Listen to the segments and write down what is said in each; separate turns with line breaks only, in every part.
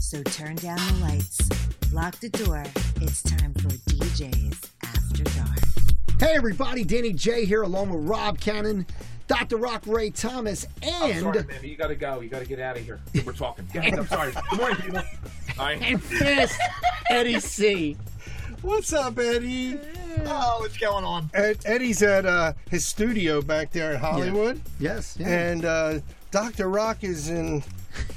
So turn down the lights, lock the door. It's time for DJ's After Dark.
Hey everybody, Danny J here along with Rob Cannon, Dr. Rock Ray Thomas,
I'm
and
sorry, man, but you gotta go. You gotta get out of here. We're talking. Guys, I'm sorry. Good morning, people. All right.
and fast Eddie C.
What's up, Eddie?
Oh, what's going on?
Ed, Eddie's at uh, his studio back there in Hollywood,
Yes, yeah.
and uh, Dr. Rock is in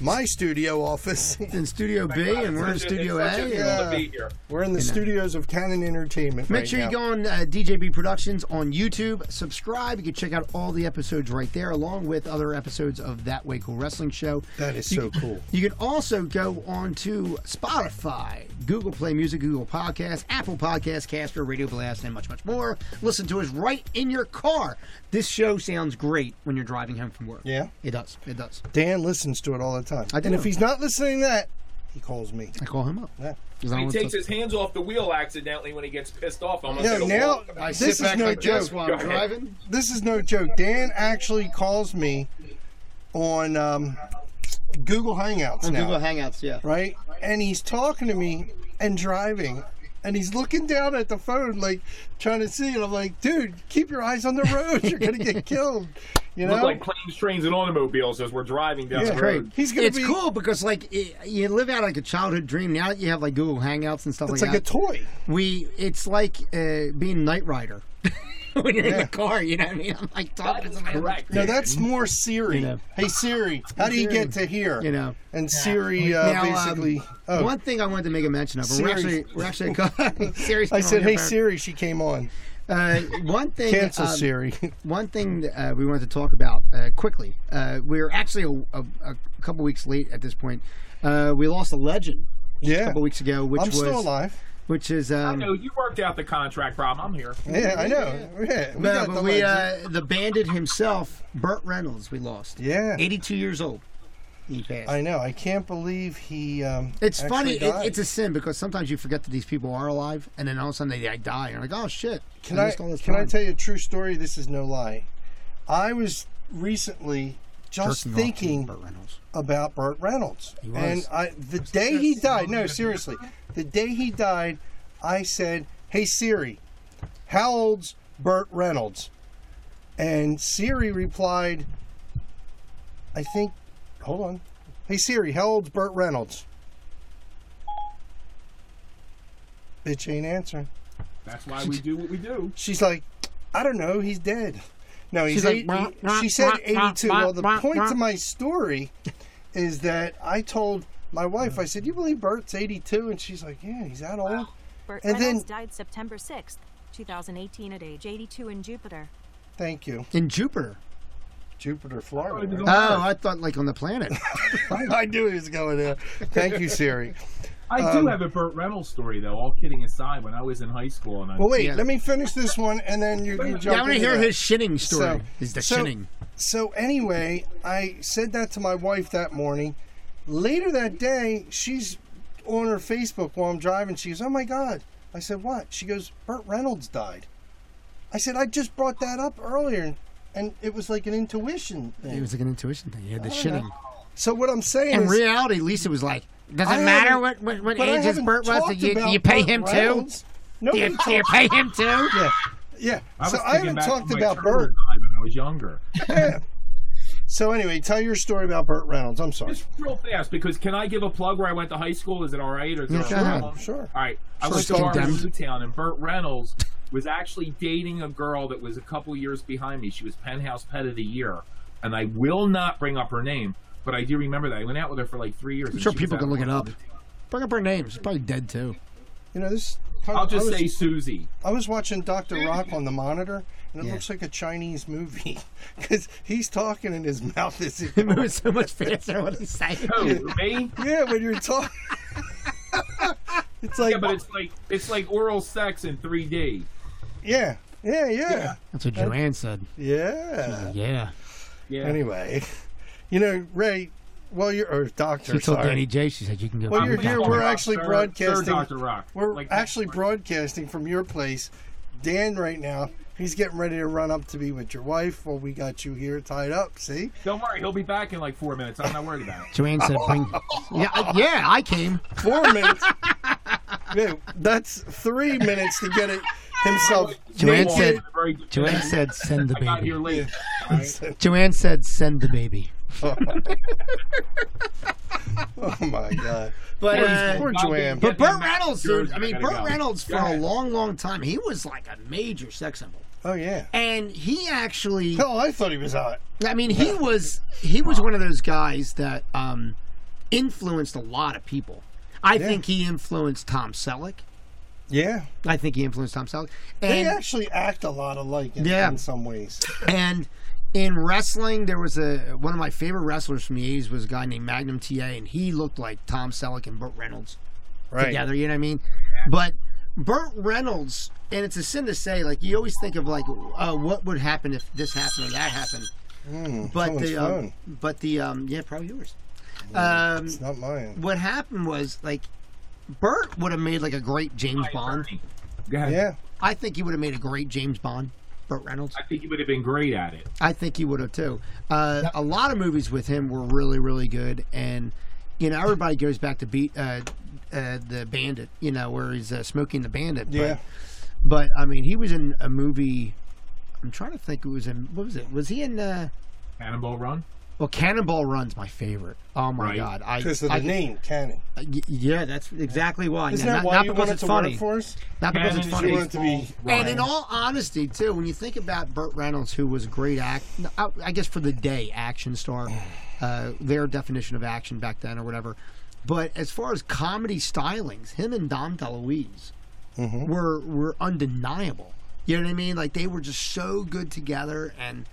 my studio office.
in Studio B and we're in Studio A.
It's such
and-
thrill to
Yeah.
be here.
We're in the studios of Canon Entertainment.
Make
right
sure
now.
you go on uh, DJB Productions on YouTube, subscribe. You can check out all the episodes right there, along with other episodes of That Way Cool Wrestling Show.
That is
You-
so cool.
You can also go on to Spotify, Google Play Music, Google Podcasts, Apple Podcasts, Caster, Radio Blast, and much, much more. Listen to us right in your car. This show sounds great when you're driving home from work.
Yeah.
It does. It does.
Dan listens to it all the time.
I do.
And if he's not listening to that, he calls me.
I call him up.
Yeah.
Is that
He
what
takes
it's-
his hands off the wheel accidentally when he gets pissed off. I'm
No,
gonna
now
I sit
this is
back
no
like this
joke.
while I'm
Go ahead.
driving.
This is no joke. Dan actually calls me on um, Google Hangouts now.
Google Hangouts, yeah.
right? And he's talking to me and driving. And he's looking down at the phone, like trying to see. And I'm like, dude, keep your eyes on the road. You're going to get killed. You know?
Look like planes, trains, and automobiles as we're driving down
Yeah.
the
Great.
road.
He's gonna
it's
be-
cool because like it, you live out like a childhood dream. Now that you have like Google Hangouts and stuff
it's
like
like a
that,
toy.
we it's like uh, being Knight Rider when you're in the car. You know what I mean? I'm like talking to somebody.
Correct.
No, that's more Siri.
You know.
Hey, Siri, how do you
Siri.
get to here?
You know.
And Siri uh,
Now, um,
basically. oh,
One thing I wanted to make a mention of. We're
Siri.
actually we're actually co- Siri's
I
still
said,
on
hey,
here,
Siri. She came on.
Uh, one thing.
Cancel
um,
Siri.
One thing uh, we wanted to talk about uh, quickly. Uh, we're actually a, a, a couple weeks late at this point. Uh, we lost a legend a
yeah.
couple weeks ago, which
I'm
was
still alive.
which is
I
um,
know you worked out the contract problem. I'm here.
Yeah, I know. Yeah. We
No,
got the
but we
legend.
uh, the bandit himself, Burt Reynolds, we lost.
Yeah.
82 years old. He passed.
I know. I can't believe he. Um,
it's
actually
funny.
Died.
It, it's a sin because sometimes you forget that these people are alive, and then all of a sudden they, they die. You're like, oh shit.
Can I,
missed all this
can I
time.
tell you a true story? This is no lie. I was recently just
Jerking off to
thinking
Burt Reynolds.
about Burt Reynolds.
He was.
And I, the day he died, no, seriously, the day he died, I said, Hey Siri, how old's Burt Reynolds? And Siri replied, I think, hold on. Hey Siri, how old's Burt Reynolds? Bitch ain't answering.
That's why we do what we do.
She's like, I don't know, he's dead. No, he's
She's like,
eight-
"Wah,
he-
wah,
she said
wah,
82.
wah,
Well, the
wah,
point
wah.
to my story is that I told my wife, I said, You believe Bert's 82? And she's like, Yeah, he's that old.
Burt
And
Reynolds
then-
died September 6th, 2018 at age 82 in Jupiter.
Thank you.
In Jupiter.
Jupiter, Florida. right?
Oh, I thought like on the planet.
I knew he was going there. Thank you, Siri.
I do have a Burt Reynolds story, though. All kidding aside, when I was in high school, and I,
Well, wait,
Yeah.
let me finish this one and then you can jump
yeah, I want to
into
hear
that.
his shinning story.
So-
Is the
so-
shinning?
So anyway, I said that to my wife that morning. Later that day, she's on her Facebook while I'm driving. She goes, "Oh my God!" I said, "What?" She goes, "Burt Reynolds died." I said, "I just brought that up earlier, and it was like an intuition
It
thing."
was like an intuition thing. He had the shinning.
So what I'm saying
In
is,
reality, Lisa was like, does
I
it matter
haven't-
what what, what
but I
age his
haven't
Burt was? Do
talked
you, do
about
you pay
Burt
him too?
Reynolds.
Do
Nobody
you, do you
talked-
pay him too?
Yeah, yeah.
I was
so I
thinking
haven't
back to
talked
my
about
turtle
Burt.
time when I was younger.
So anyway, tell your story about Burt Reynolds. I'm sorry.
Just real fast, because can I give a plug where I went to high school? Is it all right? Or is
Yeah,
it
sure.
a problem?
Sure.
All right. I
Sure,
went to
it's
Harlem
condemned.
Newtown, and Burt Reynolds was actually dating a girl that was a couple years behind me. She was Penthouse Pet of the Year, and I will not bring up her name, but I do remember that I went out with her for like three years.
I'm sure people can look it up. Bring up her name. She's probably dead too.
You know this.
I'll just
I was-
say Susie.
I was watching Doctor Rock on the monitor, and it
Yeah.
looks like a Chinese movie because he's talking and his mouth is.
It moves so much faster when he's saying.
Oh, me?
yeah, when you're talking, it's like
Yeah, but it's like it's like oral sex in 3D.
yeah, yeah, yeah,
That's what Joanne said.
yeah.
Yeah.
Yeah.
Anyway, you know, Ray. Well, you're or Doctor.
She told
sorry.
Danny J. She said you can go.
Well,
fuck
you're
yourself."
here.
Dr.
We're
Rock,
actually
sir- sir
broadcasting.
Dr. Rock.
We're
Like-
actually broadcasting from your place, Dan, right now, He's getting ready to run up to be with your wife. Well, we got you here tied up. See?
Don't worry, he'll be back in like four minutes. I'm not worried about it.
Joanne said, "Bring." Yeah, I- yeah, I came.
Four minutes. Man, that's three minutes to get it himself.
Joanne
Walk
said-
in the very-
Joanne said, "Send the
I got
baby."
here late.
Joanne said, "Send the baby."
Oh my god!
But uh,
Poor
I'll
Joanne.
get
but
him
Burt
back.
Reynolds,
Yours
dude. I
are
mean,
gonna
Burt
go.
Reynolds for
Go
a
ahead.
long, long time, he was like a major sex symbol,
Oh yeah.
and he actually.
No, I thought he was hot.
I mean, he was he was one of those guys that um, influenced a lot of people. I think he influenced Tom Selleck.
Yeah.
I think he influenced Tom Selleck.
They
And
actually act a lot alike in,
Yeah.
in some ways.
and in wrestling, there was a one of my favorite wrestlers from the '80s was a guy named Magnum TA, and he looked like Tom Selleck and Burt Reynolds
Right.
together. You know what I mean? But Burt Reynolds, and it's a sin to say, like you always think of like uh, what would happen if this happened or that happened. but
someone's
the um,
phone.
but the um, yeah, probably yours. Um,
It's not mine.
what happened was like Burt would have made like a great James Bond.
Go ahead.
Yeah.
I think he would have made a great James Bond. Burt Reynolds.
I think he would have been great at it.
I think he would have too. Uh, A lot of movies with him were really, really good, and you know everybody goes back to beat uh, uh, the Bandit, you know, where he's uh, smoking the Bandit. but-
Yeah.
But, I mean, he was in a movie. I'm trying to think. It was in what was it? Was he in? Uh,
Cannonball Run.
well, Cannonball Run's my favorite. Oh my
Right.
God! I,
Because of the
I-
name, Cannon.
y- Yeah, that's exactly why.
Isn't
not,
that why
not
you
because
wanted
it's
to
funny.
work for us?
Not because
Cannon
it's
is
funny.
You wanted to be.
Ryan.
And in all honesty, too, when you think about Burt Reynolds, who was a great act, I I guess for the day, action star, uh, their definition of action back then or whatever. But as far as comedy stylings, him and Dom DeLuise were were undeniable. You know what I mean? Like they were just so good together, and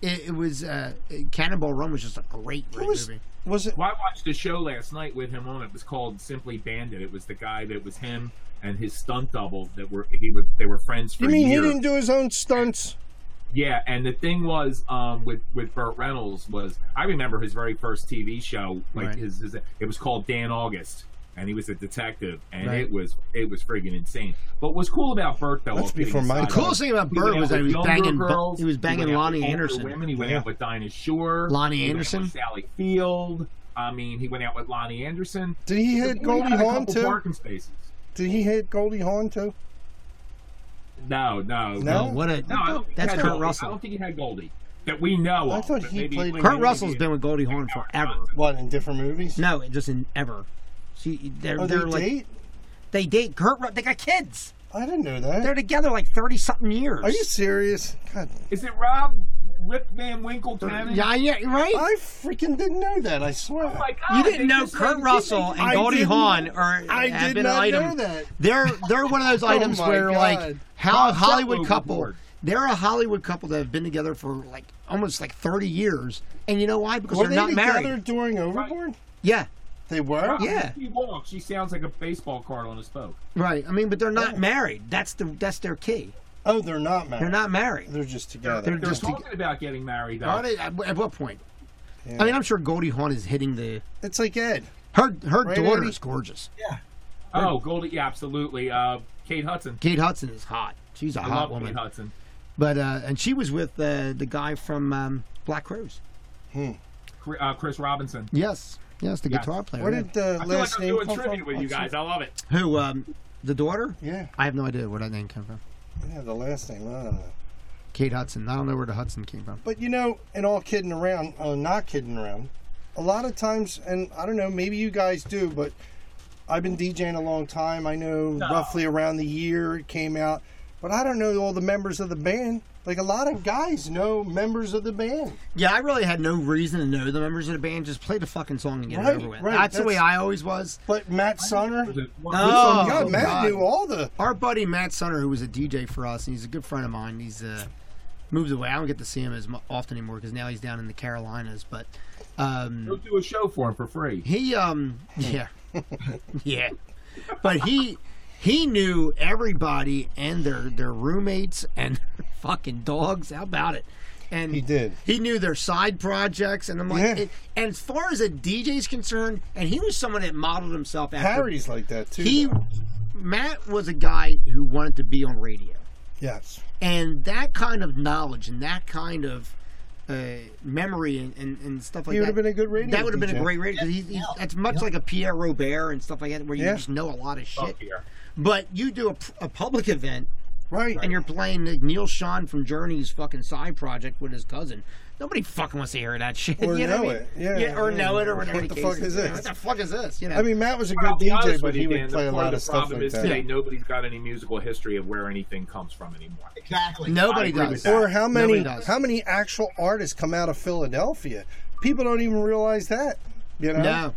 it, it was uh, Cannonball Run was just a great, great
was-
movie.
Was it?
Well, I watched a show last night with him on. It was called Simply Bandit. It was the guy that was him and his stunt double that were he was they were friends for
You mean he
years.
didn't do his own stunts?
Yeah, and the thing was um, with with Burt Reynolds was I remember his very first TV show. Like
Right.
his, his it was called Dan August, and he was a detective, and
Right.
it was it was friggin' insane. But what's cool about Burt though?
That's
okay,
before my
aside-
time.
Coolest thing about
he went
Burt was
out
that he
with
was
younger
banging
girls,
he was
went
banging
out with
Lonnie
older
Anderson.
Women. He went
Yeah.
out with Dinah Shore.
Lonnie
he went out
Anderson?
with Sally Field. I mean, he went out with Lonnie Anderson.
Did he
He
hit
had
Goldie
a
Hawn
couple
too?
Parking spaces.
Did he hit Goldie Hawn too?
No, no,
Oh,
No?
what a
No, I don't think
that's
he had
Kurt
Goldie. I
Russell.
don't think he had Goldie that we know
I
of,
thought
but
he
maybe-
played in-
Kurt Russell's been with Goldie Hawn forever.
What in different movies?
No, it just in ever. She, they're
Oh, they
they're like
date?
they date. Kurt, Ru- they got kids.
I didn't know
They're
that.
together like thirty something years.
Are you serious? God,
Is it Rob Rip Van Winkle Cannon?
Yeah, yeah, right.
I freaking didn't know that. I swear.
Oh my God,
you
they
didn't know
just
Kurt
made-
Russell and
I
Goldie
didn't-
Hawn are
I
have
did
been
not
an item.
know that. Oh
They're they're one of those items
my
where like
God.
how a
Concept
Hollywood couple.
overboard.
They're a Hollywood couple that have been together for like almost like thirty years, and you know why? Because
Were
they're
they
not
together
married.
during Overboard?
Yeah,
They were.
Rob,
Yeah.
She walks. She sounds like a baseball card on a spoke.
right. I mean, but they're not married. That's the that's their key.
Oh, they're not married.
They're not married.
They're just together.
They're
They're
just to-
talking about getting married. Though.
Aren't they- at, at what point? I mean, I'm sure Goldie Hawn is hitting the.
It's like Ed.
Her her
Right,
daughter
Andy?
is gorgeous.
Oh, Goldie. Yeah, absolutely. Uh, Kate Hudson.
Kate Hudson is hot. She's a
I
hot
love
woman.
Kate Hudson.
But uh, and she was with uh, the guy from um, Black Crowes.
Cr- Uh, Chris Robinson.
Yes, yes, the
Yes.
guitar player.
Where
yeah.
did the
I feel
last
like I'm
name
doing
come
tribute
from?
with you guys. I love it.
Who? Um, the daughter?
Yeah,
I have no idea where that name came from.
yeah, the last name. I don't know.
Kate Hudson. I don't know where the Hudson came from.
But you know, and all kidding around, uh, not kidding around. A lot of times, and I don't know, maybe you guys do, but I've been DJing a long time. I know roughly around the year it came out, but I don't know all the members of the band. Like a lot of guys know members of the band.
Yeah, I really had no reason to know the members of the band. Just play the fucking song and get
Right,
it over with.
right,
that's, the way
that's-
I always was.
But Matt Sonner,
Oh,
God, Matt
God.
knew all the.
Our buddy Matt Sunner, who was a DJ for us, and he's a good friend of mine. He's uh, moves away. I don't get to see him as mu- often anymore because now he's down in the Carolinas. But um,
We'll do a show for him for free.
He um yeah. yeah. But he he knew everybody and their their roommates and their fucking dogs. How about it? And
He did.
He knew their side projects and I'm like
Yeah.
and, and as far as a DJ's concerned, and he was someone that modeled himself after
Harry's like that too.
he
though.
Matt was a guy who wanted to be on radio.
Yes.
and that kind of knowledge and that kind of uh, memory and, and, and stuff like
He
that.
would have been a good radio.
that would have been a
DJ.
great radio because he's, he's, that's much like a Pierre Robert and stuff like that, where you
Yeah.
just know a lot of shit.
Up here.
But you do a, a public event
Right.
and you're playing like Neil Sean from Journey's fucking side project with his cousin. Nobody fucking wants to hear that shit.
Or
you know
know
what I mean?
it. Yeah,
or
yeah.
know it, or
What
whatever.
the
case
fuck is this?
What the fuck is this? You know.
I mean, Matt was a good
I'll be
DJ,
honest
but
with
he
you, Dan,
would play
the
a
part of
lot of
the
stuff
problem
like
is today
that.
nobody's got any musical history of where anything comes from anymore.
Exactly.
I
nobody
agree
does.
with
Or how many
Nobody does.
how many actual artists come out of Philadelphia? People don't even realize that. You know,
no.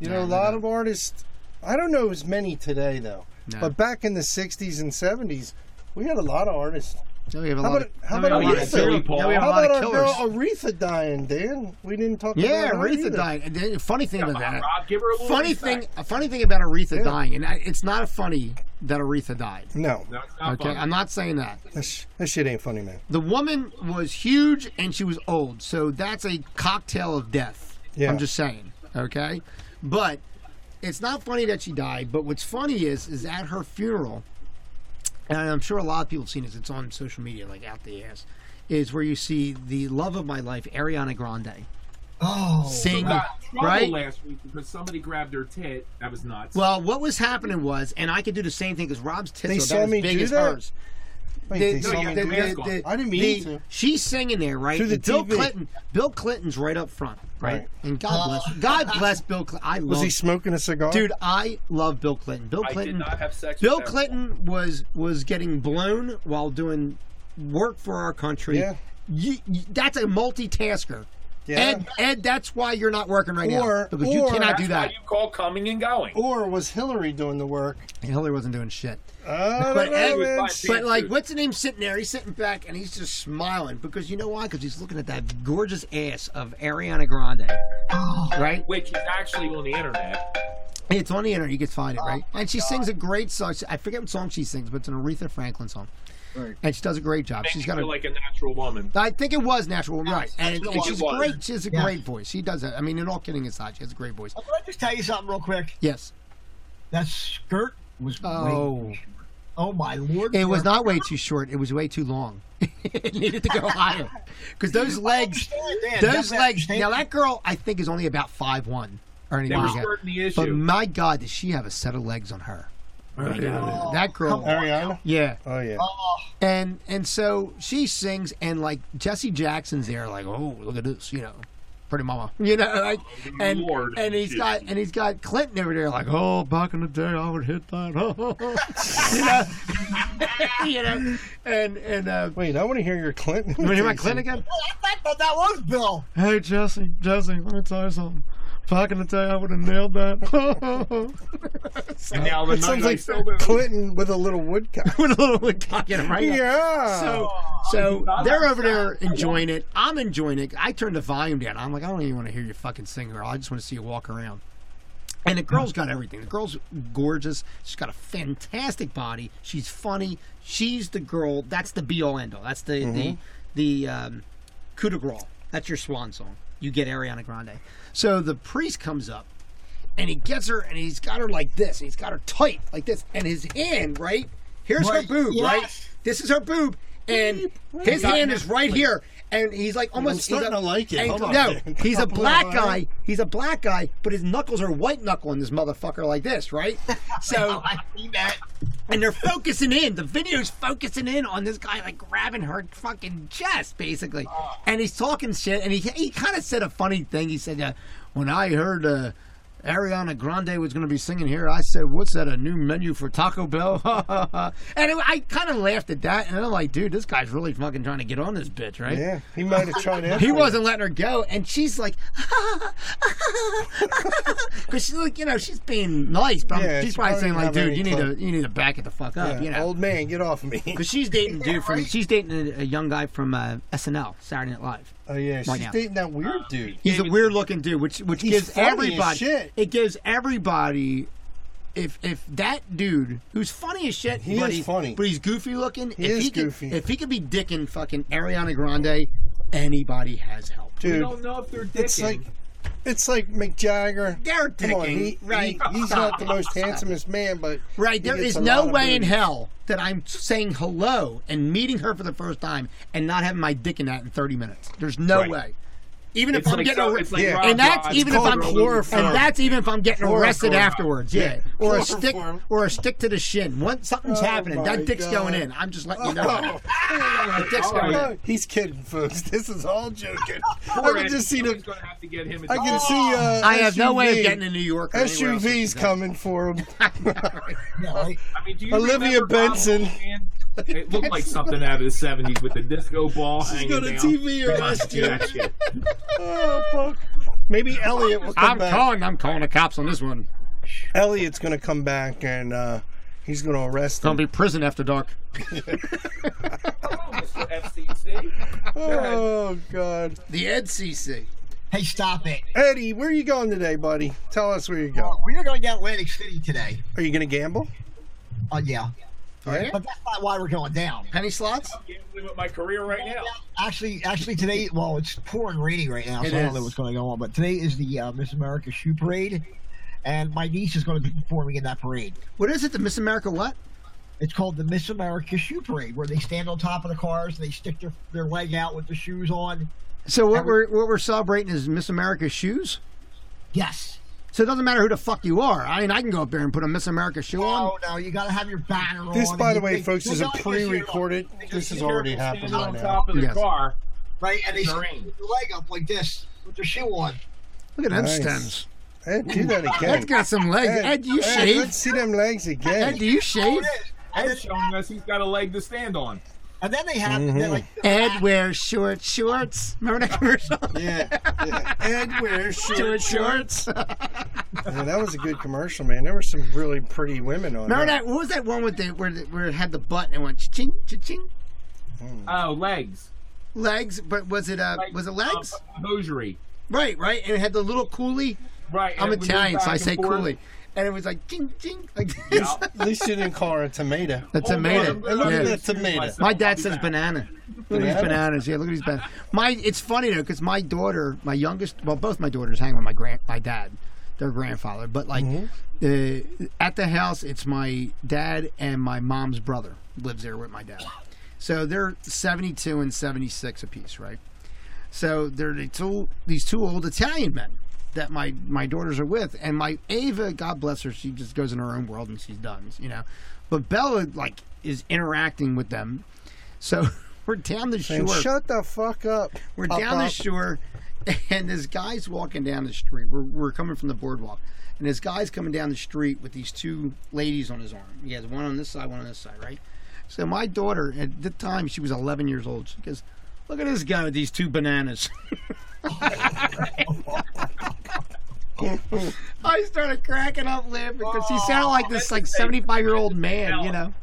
you know,
No,
a
no,
lot
no.
of artists. I don't know as many today though, but back in the '60s and '70s, we had a lot of artists.
No, we have a
How
lot
about-
of,
how
no, we
about
have a lot
you
of
say-
serial-
Paul?
no, we have a
How
lot
about
of
our
killers.
girl Aretha dying, Dan? We didn't talk
Yeah,
about her either.
Aretha dying. And the funny thing about
Come on,
that.
Rob, give her a little
Funny
respect.
thing. A funny thing about Aretha
Yeah.
dying, and I, it's not funny that Aretha died.
No,
No, it's not
Okay,
funny.
I'm not saying that.
that, sh- that shit ain't funny, man.
The woman was huge and she was old, so that's a cocktail of death.
Yeah.
I'm just saying. Okay, but it's not funny that she died. But what's funny is, is at her funeral, and I'm sure a lot of people have seen this. It's on social media, like out the ass. Is where you see the love of my life, Ariana Grande,
Oh.
sing
got in trouble
right.
last week because somebody grabbed her tit. That was nuts.
Well, what was happening was, and I could do the same thing because Rob's tits
They
are
saw
about as
me
big
do
as
that?
hers.
Wait,
The-
they
no,
saw
you
me
have
do
to
that?
ask them.
I didn't mean
the-
to.
She's singing there, right?
Through the
And Bill
TV.
Clinton. Bill Clinton's right up front, right?
Right.
And God bless, God bless Bill Clinton. I
Was
love,
he smoking a cigar?
dude. I love Bill Clinton. Bill
I did
Clinton.
not have sex.
Bill
with that.
Clinton was was getting blown while doing work for our country.
Yeah.
You, you- that's a multitasker.
Yeah.
Ed, Ed, that's why you're not working right
Or-
now because you
or-
cannot
That's
do
why
that.
you call coming and going.
Or was Hillary doing the work?
Hillary wasn't doing shit.
I don't
But
know,
Ed,
man.
was fine.
but like, what's the name sitting there? He's sitting back and he's just smiling because you know why? Because he's looking at that gorgeous ass of Ariana Grande,
Oh.
right?
which is actually on the internet.
It's on the internet. You can find
Oh,
it, right? And she sings a great song. I forget what song she sings, but it's an Aretha Franklin song,
Right.
and she does a great job.
Makes
She's
you
got
feel
a
like a natural woman.
I think it was natural, right? And, it,
Natural
and she's
Woman.
great. She has a
Yeah.
great voice. She does that. I mean, and all kidding aside, she has a great voice.
Can I just tell you something real quick?
Yes.
That skirt was.
Oh.
way- Oh my lord.
It was not way too short. It was way too long. it needed to go higher because those
Oh,
legs,
understand.
those
Definitely
legs.
understand.
Now that girl, I think, is only about five one or
They
anything.
were
like that.
skirting the
But
issue.
my God, does she have a set of legs on her? that girl.
Ariana.
Yeah,
Oh yeah.
Oh,
and and so she sings, and like Jesse Jackson's there, like, oh, look at this, you know, pretty mama, you know, like, and
Oh, Lord.
and he's got and he's got Clinton over there, like, oh, back in the day, I would hit that, you know, you know, and and uh,
Wait, I want to hear your Clinton.
you want to hear my Clinton again?
I thought that was Bill.
Hey Jesse, Jesse, let me tell you something. Back in the day, I would have nailed that.
and now the
It
night
sounds
I
like
still do.
Clinton with a little woodcock.
With a little wood cock in him, right?
yeah.
So, so they're over there enjoying it. I'm enjoying it. I turned the volume down. I'm like, I don't even want to hear your fucking sing, girl. I just want to see you walk around. And the girl's got everything. The girl's gorgeous. She's got a fantastic body. She's funny. She's the girl. That's the be all end all. That's the the the um, coup de grace. That's your swan song. You get Ariana Grande. So the priest comes up and he gets her and he's got her like this. And he's got her tight like this. And his hand, right? Here's her
Right.
boob,
Yes.
right? This is her boob. And his hand is right here. And he's like almost he's
starting
a-
to like it.
and-
Hold on.
no, he's a
Hold
black
on.
guy. He's a black guy, but his knuckles are white knuckling this motherfucker like this, right? So
I seen that.
and they're focusing in. The video's focusing in on this guy like grabbing her fucking chest, basically. And he's talking shit. And he he kind of said a funny thing. He said, uh, "When I heard uh, Ariana Grande was going to be singing here, I said, what's that? A new menu for Taco Bell?" and it, I kind of laughed at that. And I'm like, "Dude, this guy's really fucking trying to get on this bitch, right?"
yeah, he might have tried it.
He wasn't letting her go, and she's like, because she's like, you know, she's being nice, but I'm-
Yeah,
she's
she
probably
probably
saying like,
didn't have
dude,
any
you need
clue.
to, you need to back it the fuck up,
Yeah,
you know.
Uh, Old man, get off me.
Because she's dating a dude from she's dating a, a young guy from uh, SNL Saturday Night Live.
Oh yeah,
Right
she's
now.
dating that weird dude.
He's a weird looking dude, which which
He's
gives
funny as
everybody
shit.
it gives everybody. If if that dude who's funny as shit,
He
but
is
he's,
funny.
but he's goofy looking. if
is
he could-
goofy.
if he could be dicking fucking Ariana Grande, anybody has help.
We
Dude,
don't know if they're
it's
dicking.
like It's like Mick Jagger.
They're
Come on,
digging,
he-
right?
he- he's not the most handsomest man, but
Right,
he
there
gets
is
a
no
lot of
way in
booty.
hell that I'm saying hello and meeting her for the first time and not having my dick in that in 30 minutes. There's no
Right.
way. Even
It's
if I'm
like,
getting
so,
arre-
it's like
Yeah.
Rob
and that's
Dodge
even if
called
I'm
Rolling
and
Stone.
that's even if I'm getting arrested
Chloroform.
afterwards. Yeah, or a stick,
Chloroform.
or a stick to the shin. Once something's
Oh
happening,
my
that dick's
God.
going in. I'm just letting you know.
Oh.
The dick's
All
going
right.
in.
He's kidding, folks. This is all joking. I
Poor
can
Eddie.
just see
Somebody's
the.
gonna have to get him.
I can
involved.
see. Uh,
I have no way of
SUV
getting to New York. or anywhere else
SUV's
that
coming for him.
Yeah, right.
I mean, do you
Olivia
remember Bob
Benson.
Hogan? It looked like something out of the '70s with the disco ball hanging
got a
down.
TV or
Reminds me of
SG.
that shit.
oh fuck! Maybe Elliot will come
I'm
back.
calling. I'm calling the cops on this one.
Elliot's gonna come back and uh, he's gonna arrest
Gonna
him.
be prison after dark.
Hello, Mr. FCC.
Oh god,
The NCC.
Hey, stop it.
Eddie, where are you going today, buddy? Tell us where you go.
We are going to Atlantic City today.
Are you gonna gamble?
Oh, yeah.
Yeah.
But that's not why we're going down.
Penny slots.
Gambling with my career right now.
Actually, actually today, well, it's pouring rainy right now, so
It
I don't
is.
know what's going to go on. But today is the uh, Miss America shoe parade, and my niece is going to be performing in that parade.
What is it? The Miss America what?
It's called the Miss America shoe parade, where they stand on top of the cars and they stick their, their leg out with the shoes on.
So what we're what we're celebrating is Miss America's shoes.
Yes.
So it doesn't matter who the fuck you are. I mean, I can go up there and put a Miss America shoe on.
Oh no, you got to have your banner on.
This,
and
by the
you-
way,
they-
folks,
they
is a
got this here,
pre-recorded.
look.
This is already happening
Standing
right
on
now.
top of the
Yes.
car.
right, and they stick
Terrain.
their leg up like this with their shoe on.
Look at them
Nice.
stems.
Ed, do that again.
Ed's got some legs. Ed, do you
Ed,
shave?
Let's see them legs
Ed,
again.
do you shave?
And,
Ed's showing us he's got a leg to stand on.
and then they have they're
Mm-hmm.
like
Ed wears short shorts. Remember that commercial?
Yeah, yeah. Ed wears
Short shorts.
Yeah, that was a good commercial, man. There were some really pretty women on
Remember
there.
that? What was that one with the where, the, where it had the button and it went ching ching
Oh, legs.
legs? But was it uh
Like,
was it legs?
Um, hosiery.
Right, right. And it had the little coolie.
Right.
I'm
and we
Italian,
went
so I
back
say
and forth. Uh,
coolie. And it was like ching ching like
Yeah.
this.
At least you didn't call her a tomato.
The
Hold on,
tomato.
I'm gonna-
Look at
Yeah.
I'm
that
gonna excuse
tomato.
myself.
My
I'll
dad
be
says
back.
banana. Look at these
Banana?
bananas. Yeah, look at these bananas. My, it's funny though, because my daughter, my youngest, well, both my daughters hang with my grand, my dad, their grandfather. But like, uh, at the house, it's my dad and my mom's brother lives there with my dad. So they're seventy-two and seventy-six apiece, right? So they're the two, these two old Italian men that my my daughters are with, and my Ava, God bless her, she just goes in her own world and she's done, you know. But Bella like is interacting with them, so we're down the
And
shore.
shut the fuck up.
we're
Pop
down the
up.
shore, and this guy's walking down the street. We're we're coming from the boardwalk, and this guy's coming down the street with these two ladies on his arm. He has one on this side, one on this side, right? So my daughter at the time she was 11 years old. She goes, "Look at this guy with these two bananas." I started cracking up laughing because he sounded like this like 75 year old man, you know.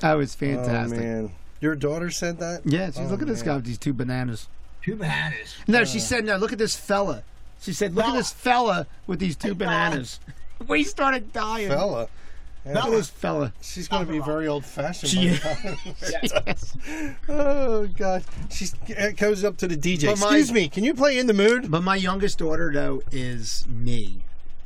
That was
Oh
fantastic.
man, your daughter said that.
yeah, she's
Oh,
look at this
man.
guy with these two bananas.
two bananas.
No, she said no. Look at this fella. She said, look at this fella with these two bananas. We started dying.
Fella. Yeah.
That was fella.
She's gonna be very old fashioned.
She-
oh god, she goes up to the DJ.
But my-
Excuse me, can you play in the mood?
But my youngest daughter though is me,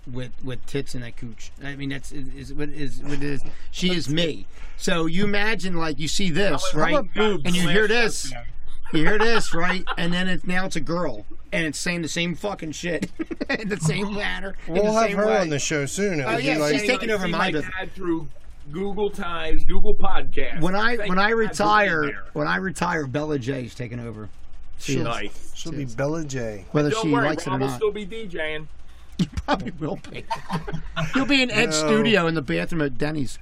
with with tits and a cooch. I mean that's is, is what is what it is. She is me. So you imagine like you see this
How
right,
about boobs?
and you hear
Last
this,
episode.
you hear this right, and then it's now it's a girl, and it's saying the same fucking shit, in the same manner. in
We'll
the
have
same
her
way.
on the show soon. It
Oh,
would be
yeah,
like-
she's taking over
See
my
my
business.
dad through Google Times, Google Podcasts.
When I
Thank
when I
God Google's
retire,
there.
when I retire, Bella J's taking over. She is.
nice.
she'll be Bella J.
Whether
Don't
she
worry,
likes it
Rob
or
will
not,
still be DJing.
probably will be. You'll be in Ed's
No.
studio in the bathroom at Denny's.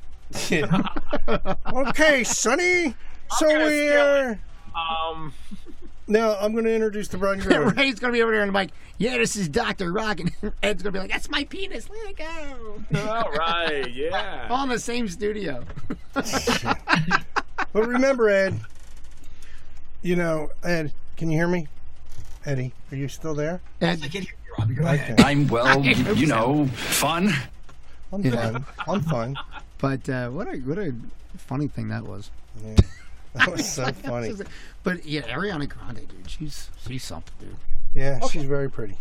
okay, Sonny. So
gonna steal
we're
Um,
now. I'm gonna introduce the bride and groom.
Ray's gonna be over there and I'm like, yeah, this is Doctor Rock, and Ed's gonna be like, that's my penis. Let it go.
all right, yeah.
All in the same studio.
But remember, Ed. You know, Ed. Can you hear me? Eddie, are you still there?
I
Ed,
can't hear you, Robbie. Go ahead.
I'm well, you, you know, fun.
I'm
Yeah.
fine. I'm fine.
but uh, what a what a funny thing that was.
That was so funny.
But yeah, Ariana Grande, dude, she's she's something, dude.
Yeah, she's very pretty.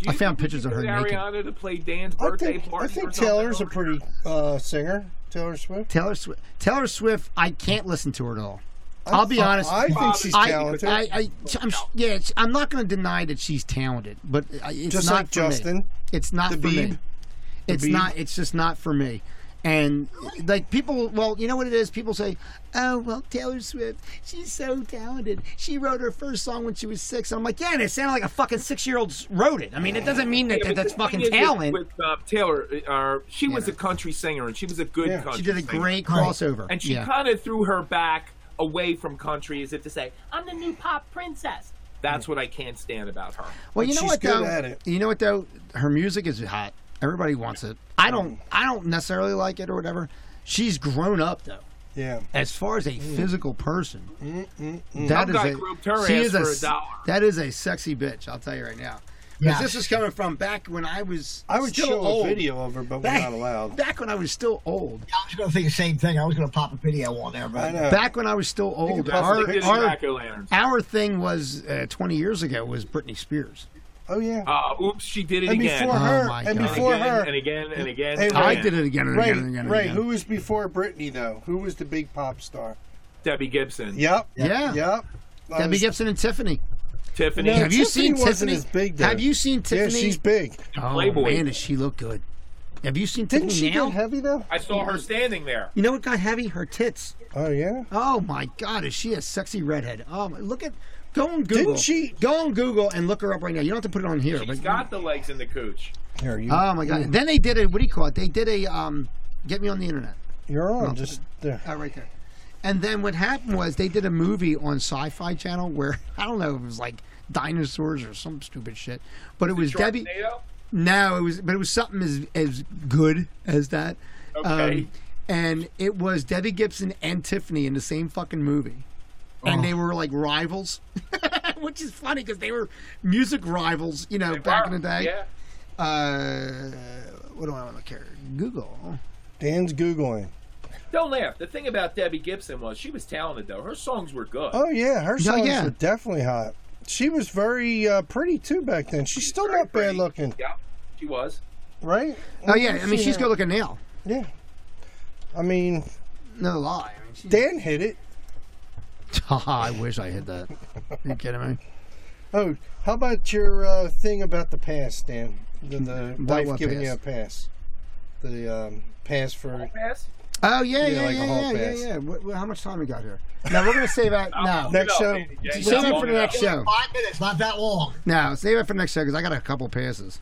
Do
I
you
found
think we
pictures
could
of her
get
naked.
Ariana to play Dan's
I
birthday
think
party.
I
or
think
something?
Taylor's a pretty uh, singer. Taylor Swift.
Taylor Swift. Taylor Swift. I can't listen to her at all. I'll be honest.
I think she's
I,
talented.
I, I, am yeah, it's- I'm not going to deny that she's talented, but I- it's
just
not
like
for
Justin.
Me. It's not for
Dabeed.
me. It's
Dabeed.
not. It's just not for me. And like people, well, you know what it is. People say, "Oh, well, Taylor Swift, she's so talented. She wrote her first song when she was six. And I'm like, "Yeah, and it sounded like a fucking six-year-old wrote it. I mean, it doesn't mean that, that
Yeah, but
that's
the
fucking
thing is with-
talent.
With, uh, Taylor, uh, she was a country singer and she was a good
Yeah. She
country.
she did a
singer.
great crossover,
and she
yeah.
kind of threw her back away from country as if to say, "I'm the new pop princess." That's what I can't stand about her.
Well, you
But
know
she's
what
good
though.
at it.
You know what though. Her music is hot. Everybody wants it. I don't. I don't necessarily like it or whatever. She's grown up though.
Yeah.
As far as a
Mm.
physical person,
Some guy groped her
she
ass
is
for a
s-
dollar.
That is a sexy bitch. I'll tell you right now. 'Cause
Yes.
this is coming from back when I was.
I would
still
show
old.
a video of her, but we're
Back,
not allowed.
Back when I was still old.
I was going to say the same thing. I was going to pop a video on there, but
I know.
Back when I was still old.
That's
Our,
the
Did
Our-
tobacco lanterns.
our thing was uh, 20 years ago was Britney Spears.
Oh yeah.
Uh, oops, she did it
and
again.
before
Oh
her,
my
and
God.
and
before
again,
her,
and again and again.
Hey,
and
Ray.
I
again.
did it again and
Ray,
again and again. and
Ray,
again.
who was before Britney though? Who was the big pop star?
Debbie Gibson,
Yep.
Yeah.
Yep. I
Debbie
was-
Gibson and Tiffany.
Tiffany.
No,
Have you
Tiffany
seen
wasn't
Tiffany?
as big then.
Have you seen
Yeah,
Tiffany?
she's big.
oh
Playboy.
man, does she look good? Have you seen
Didn't she
Tiffany now?
get heavy though?
I saw her standing there.
you know what got heavy? Her tits.
Oh yeah.
Oh my God, is she a sexy redhead? Oh, my, look at. Go on Google.
she-
Go on Google and look her up right now. You don't have to put it on here.
She's
but-
got the legs in the cooch.
Here you.
Oh my God. Then they did a what do you call it? They did a um, get me on the internet.
You're on. Just uh, there.
Oh, right there. And then what happened was they did a movie on Sci-Fi Channel where I don't know if it was like dinosaurs or some stupid shit, but it was Debbie.
Sharknado?
No, it was, but it was something as as good as that.
Okay.
and it was Debbie Gibson and Tiffany in the same fucking movie, and they were like rivals, which is funny because they were music rivals, you know, back in the day.
Yeah.
Uh, what do I want to care? Google. Oh,
Dan's googling.
Don't laugh. The thing about Debbie Gibson was she was talented though. Her songs were good.
Oh yeah, her songs
yeah.
were definitely hot. She was very uh, pretty too back then. She's still not bad looking,
Yeah, she was.
right?
Oh yeah, I mean
see
she's
her.
good looking now.
Yeah. I mean,
No lie. I mean, she's-
Dan hit it.
Haha, I wish I had that. Are you kidding me?
Oh, how about your uh, thing about the pass, Dan? The, the
About
wife
what
giving
pass?
you a pass. The um, pass for.
Pass.
Oh yeah, yeah, yeah,
like a hall
yeah, yeah,
pass.
yeah. What, what, how much time we got here? Now we're gonna save that. No,
Next show.
save it for the next show.
five minutes, not that long.
No, save it for next show because I got a couple passes.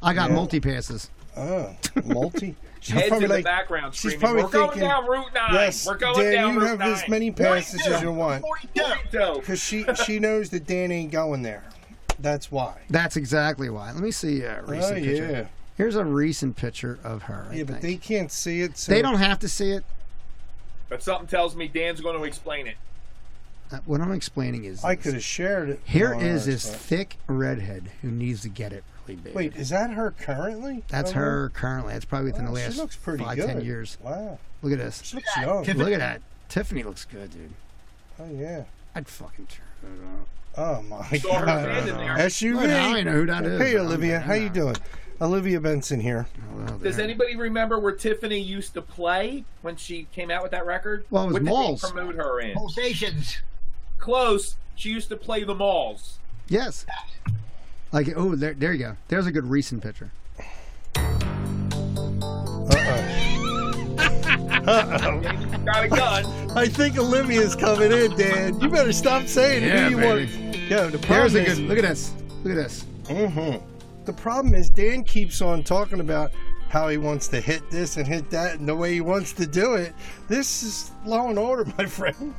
I got
Yeah.
multi passes.
Oh, multi. She's
Heads in
probably
the
like,
background
she's
screaming,
probably
"We're
thinking,
going down Route 9.
Yes,
We're going
Dan,
down
you
Route
have
9.
as many passes as you want.
42.
So,
Because she, she knows that Dan ain't going there. That's why.
That's exactly why. Let me see a recent
oh,
picture.
yeah.
Here's a recent picture of her. I
Yeah, but they
think.
can't see it. So
they don't have to see it.
But something tells me Dan's going to explain it.
Uh, What I'm explaining is
I
this.
could have shared it.
Here
on
is
ours,
this thick redhead who needs to get it really big.
but- Wait, is that her currently?
That's
Over?
her currently. That's probably within
Oh,
the last
she looks pretty
five,
good.
ten years.
Wow,
Look at this.
she looks young.
Tiff-
Look at that. Tiffany looks good, dude.
Oh yeah.
I'd fucking turn it on.
Oh my
Saw her
god.
hand in there.
Look, I
SUV.
know who that is.
Hey Olivia, how you doing? Olivia Benson here.
Does anybody remember where Tiffany used to play when she came out with that record?
Well, it was
what
malls.
Did they promote her in?
Pulsations.
Close. She used to play the malls.
Yes. Like oh, there, there you go. There's a good recent picture.
Got a gun.
I think Olivia's coming in, Dan. You better stop saying
Yeah,
it. Who you
baby.
want? Yo, the problem
There's a
is,
good. Look at this. Look at this.
the problem is Dan keeps on talking about how he wants to hit this and hit that and the way he wants to do it. This is law and order, my friend.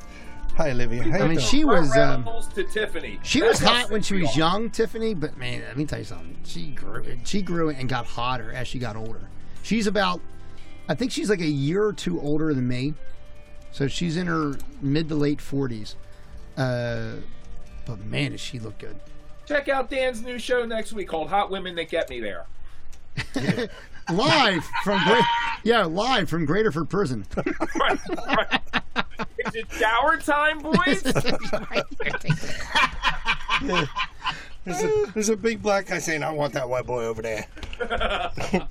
Hi Olivia. How you
I mean,
doing?
she was.
Around
Um,
malls to Tiffany.
she
That's
was
how
hot when she was
are.
young, Tiffany. But man, let me tell you something. She grew. She grew and got hotter as she got older. She's about. I think she's like a year or two older than me, so she's in her mid to late forties. Uh, but man, does she look good?
Check out Dan's new show next week called Hot Women That Get Me There.
Live from Great. Yeah, live from Greaterford Prison.
Right, right. Is it shower time, boys?
There's a, there's a big black guy saying, "I want that white boy over there."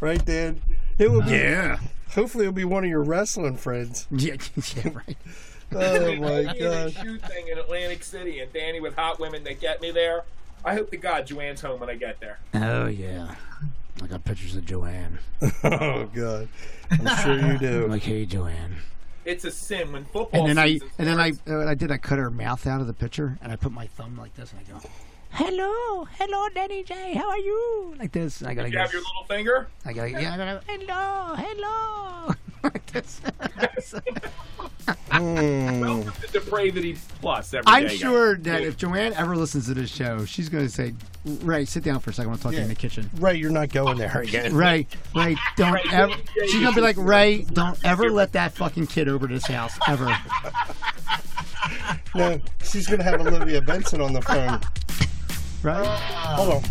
right, Dan? It will be.
Yeah.
Hopefully, it'll be one of your wrestling friends.
Yeah, yeah, right.
Oh
I
my
did a
god!
shoot thing in Atlantic City, and Danny with hot women that get me there. I hope to God Joanne's home when I get there.
Oh yeah. I got pictures of Joanne.
Oh god! I'm sure you
I'm
do.
like, hey, Joanne.
It's a sin when football.
And then I
season
and then I uh, what I did I cut her mouth out of the picture and I put my thumb like this and I go, hello, hello, Danny J, how are you? Like this. And I gotta
You
go.
have your little finger.
I gotta yeah. I gotta, hello, hello. like this.
Mm.
Welcome to depravity plus. every
I'm
day, guys.
sure that if Joanne ever listens to this show, she's gonna say, Ray, sit down for a second. I want to talk to you in the kitchen.
Ray, you're not going there again.
Ray, Ray, don't
Ray,
ever.
yeah, yeah,
She's gonna be like, Ray, don't ever let that fucking kid over to this house ever.
No, she's gonna have Olivia Benson on the phone.
Right?
Hold on.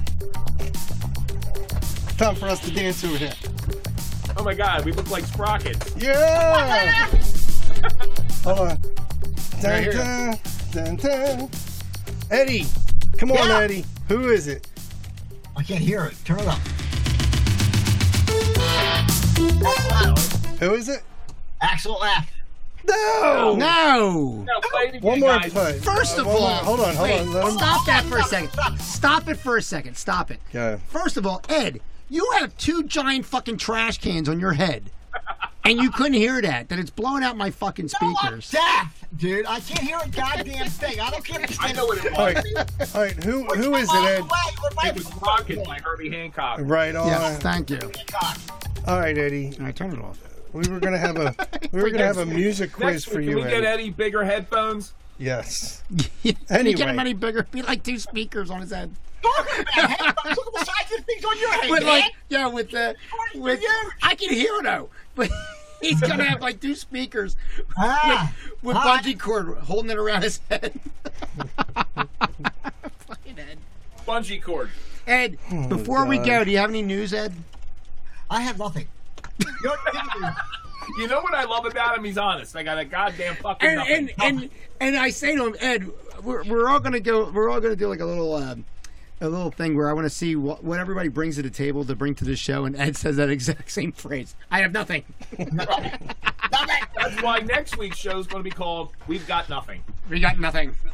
Time for us to dance over here.
Oh my God, we look like sprockets.
Yeah! Hold on. Dun,
Right here.
dun, dun, dun. Eddie! Come on,
Yeah.
Eddie. Who is it?
I can't hear it. Turn it up.
Who is it?
Axel F.
No!
No.
No, play it again,
One more
guys.
play.
First
Uh,
of
one
all,
more- hold on, hold
wait,
on. Let him-
stop that for a second. Stop it for a second. Stop it.
Yeah.
First of all, Ed, you have two giant fucking trash cans on your head, and you couldn't hear that. That it's blowing out my fucking
No, I'm
speakers.
deaf, dude. I can't hear a goddamn thing. I don't care if it's
I know what it
All
was.
right, all right. Who who is it, Ed?
It was Rocket by Herbie Hancock.
Right on.
Yes, thank you.
All right, Eddie.
I turn it off.
We were gonna have a we were gonna have a music quiz
Next
for
week, can we
you,
get
Eddie.
Eddie bigger headphones?
Yes.
Can you get him
Anyway.
any bigger? Be like two speakers on his head.
Talking about headphones. Look at the size of the things on your head,
With
man.
like, yeah, with uh, with I can hear though, but he's gonna have like two speakers
Ah,
with
Hi.
bungee cord holding it around his head. Fucking Ed.
Bungee cord.
Ed, before we
God.
go, do you have any news, Ed?
I have nothing. You're kidding me.
You know what I love about him? He's honest. I got a goddamn fucking
And
nothing.
and and, and I say to him, Ed, we're, we're all gonna go. We're all gonna do like a little. Um, a little thing where I want to see what, what everybody brings to the table to bring to this show, and Ed says that exact same phrase. I have nothing.
That's why next week's show is going to be called "We've Got Nothing."
We got nothing.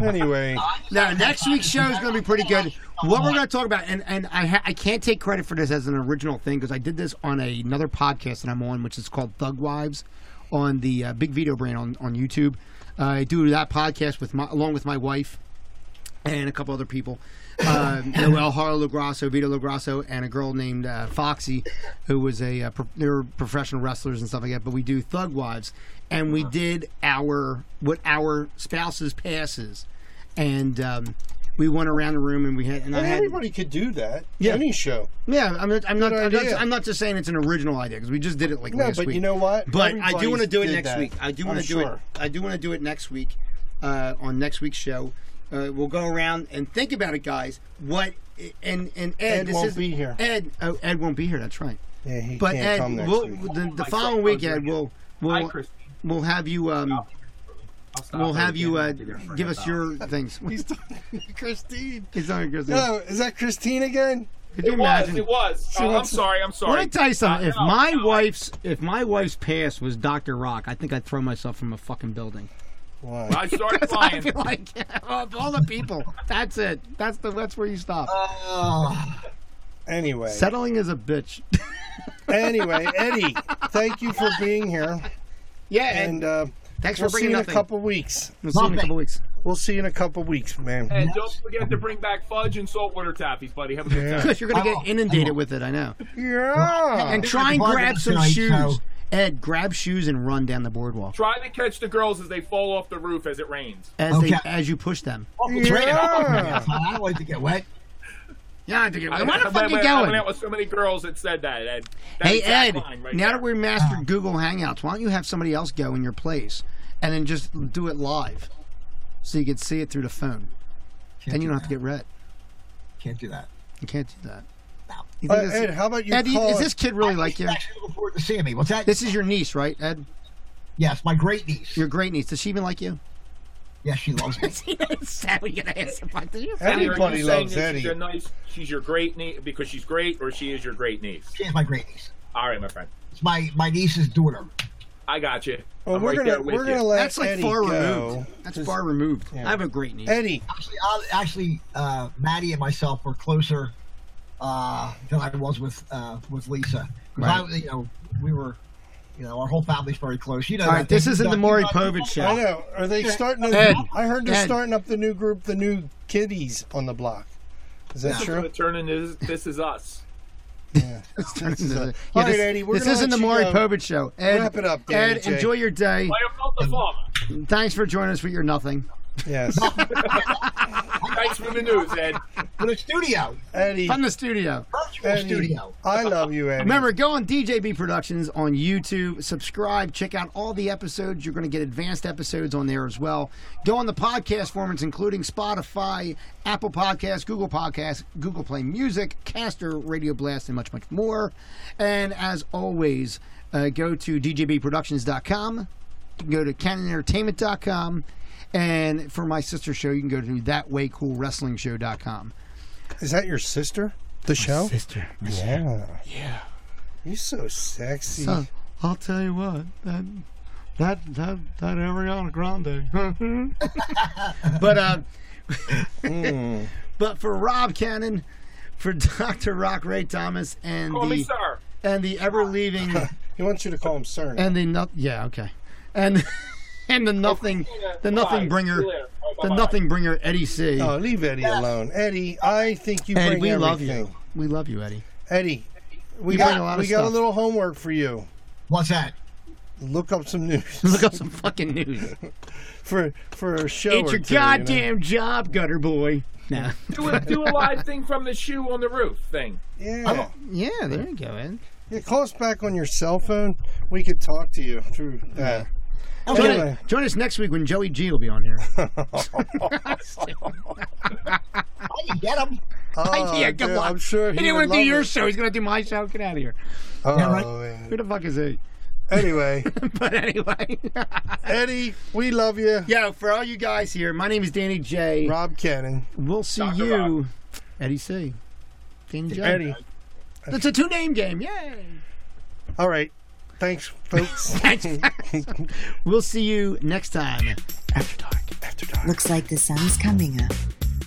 Anyway.
Now, next week's show is going to be pretty good. What we're going to talk about, and, and I ha- I can't take credit for this as an original thing because I did this on a, another podcast that I'm on, which is called Thug Wives, on the uh, Big Vito brand on on YouTube. Uh, I do that podcast with my along with my wife and a couple other people. Um, Noel Haro Lagrasso, Vito Lagrasso, and a girl named uh, Foxy, who was a uh, pro- they were professional wrestlers and stuff like that. But we do Thug Wives, and we did our what our spouses passes, and um, we went around the room and we had and I
And
had
everybody could do that.
Yeah.
Any show.
yeah I'm not I'm not, I'm not
idea.
I'm not just saying it's an original idea because we just did it like
No,
last
but
week.
you know what?
But I do
Everybody's
want to do it
did
next
that.
week. I do
I'm
want to do
sure.
it. I do want to do it next week uh, on next week's show. Uh, we'll go around and think about it, guys. What and and Ed,
Ed
this
won't
is,
be here.
Ed, oh, Ed won't be here. That's right.
Yeah, he
But
can't
Ed,
come next
we'll,
week.
the, the
my
following
God,
week,
Roger.
Ed, we'll
Hi,
we'll,
Christine.
we'll have you um,
I'll stop
we'll
right
have you uh,
again. I'll be there for
give
another
us
hour.
your things.
He's talking to Christine.
He's on your
No, is that Christine again?
Could you
It was.
imagine?
It was.
She
Oh, I'm
wants to-
sorry. I'm sorry.
Let me tell you something.
Uh,
If
no,
my
no,
wife's if my wife's past was Doctor Rock, I think I'd throw myself from a fucking building.
Why?
I started
I
flying.
feel like of all the people, that's it. That's the that's where you stop.
Uh,
Oh,
Anyway.
Settling is a bitch.
anyway, Eddie, thank you for being here.
Yeah,
And uh,
thanks
we'll
for
see
bringing
you in
nothing.
a couple weeks.
we'll see you in a
Nothing.
couple weeks.
We'll see you in a couple weeks, man.
And don't forget to bring back fudge and saltwater tappies, buddy. Have a good time.
Because you're gonna
Oh,
get inundated with it, I know.
Uh,
Yeah.
And try and
Bargain
grab some
tonight,
shoes.
so-
Ed, grab shoes and run down the boardwalk
Try to catch the girls as they fall off the roof as it rains.
as they
Okay.
as you push them.
Oh.
it's raining. I don't like to get wet.
Yeah, I think it. Where the
I-
fuck
I-
you
I went out
going?
with so many girls that said that, Ed. That
Hey Ed,
exact line right
now
there. Ah.
that we've mastered Google Hangouts, why don't you have somebody else go in your place and then just do it live, so you can see it through the phone.
Can't
Then you
do
don't have to
that.
get red.
Can't do that.
You can't do that.
No.
You
Uh,
think this-
Ed, how about you
Ed, you-
call
is
it-
this kid really like
She's
you?
actually looking forward to seeing me. What's that?
This is your niece, right, Ed?
yes, my great niece.
Your great niece. Does she even like you?
Yes, she loves me.
Is that what you're gonna
Uh,
ask about? Did you-
Everybody
Eddie, are you saying
loves
that
Eddie.
She's, a nice, she's your great niece because she's great, or she is your great niece.
She's my great niece.
All right, my friend.
It's my my niece's daughter.
I got you.
Well,
I'm
we're
right
gonna
there with
we're
you.
gonna let
That's like
Eddie
far
go.
removed. That's far removed. I have a great niece.
Eddie,
Actually, I- actually, uh, Maddie and myself were closer uh, than I was with uh, with Lisa. 'Cause I, you know, we were, you know, our whole family's very close. You know,
All
that
right, this
thing.
isn't the
You
Maury
know,
Povich show.
I know. Are they starting? A,
Ed.
I heard they're
Ed.
starting up the new group, the new kiddies on the block. Is that
It's gonna
true?
turn into this, this is us.
Yeah.
Yeah,
All right,
this,
Eddie, we're
this
gonna
isn't the
let you
Maury
go.
Povich show. Ed,
Wrap it up, Danny
Ed,
J.
enjoy your day.
I am not the father.
Thanks for joining us for your nothing.
Yes.
Thanks for the news, Ed.
For the studio,
Eddie,
From the studio.
virtual
Eddie,
studio.
I love you, Eddie.
Remember, go on DJB Productions on YouTube, subscribe, check out all the episodes. You're going to get advanced episodes on there as well. Go on the podcast formats, including Spotify, Apple Podcasts, Google Podcasts, Google Play Music, Caster, Radio Blast, and much, much more. And as always, uh, go to djbproductions.com, you can go to canonentertainment.com, and for my sister show, you can go to thatwaycoolwrestlingshow.com.
Is that your sister? The show?
Sister.
Yeah. Yeah. You're so sexy.
So, I'll tell you what, that that that, that Ariana Grande. but uh, but for Rob Cannon, for Dr. Rock Ray Thomas and
Call me
the
sir.
and the ever leaving
he wants you to call him sir. now.
and the no- yeah, okay. And and the nothing the nothing bringer the nothing bringer Eddie C.
Oh, leave Eddie alone. Eddie, I think you
Eddie,
bring
we
everything.
love you. We love you, Eddie.
Eddie, we
You
got
bring a lot of
we got a
stuff.
little homework for you.
What's that?
Look up some news
Look up some fucking news.
for for a show.
It's
or
your
two, you know?
goddamn job, gutter boy. Nah.
Do a, do a live thing from the shoe on the roof thing.
Yeah.
Yeah, there you go, Ed.
yeah, call us back on your cell phone. We could talk to you through that.
Join,
Anyway.
join us next week when Joey G will be on here.
I can get him.
Oh,
yeah, good
dude,
luck.
I'm sure he,
He didn't
would
want to do
love
your
it.
show. He's going to do my show. Get out of here.
Oh,
right?
man.
Who the fuck is he?
Anyway,
but anyway,
Eddie, we love you.
yo, for all you guys here, my name is Danny J.
Rob Cannon.
We'll see
Dr.
you, Eddie C. Danny J.
Eddie.
It's a two name game. Yay.
All right. Thanks, folks.
We'll see you next time.
After dark.
Looks like the sun's coming up.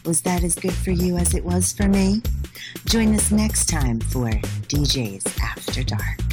Was that as good for you as it was for me? Join us next time for DJ's After Dark.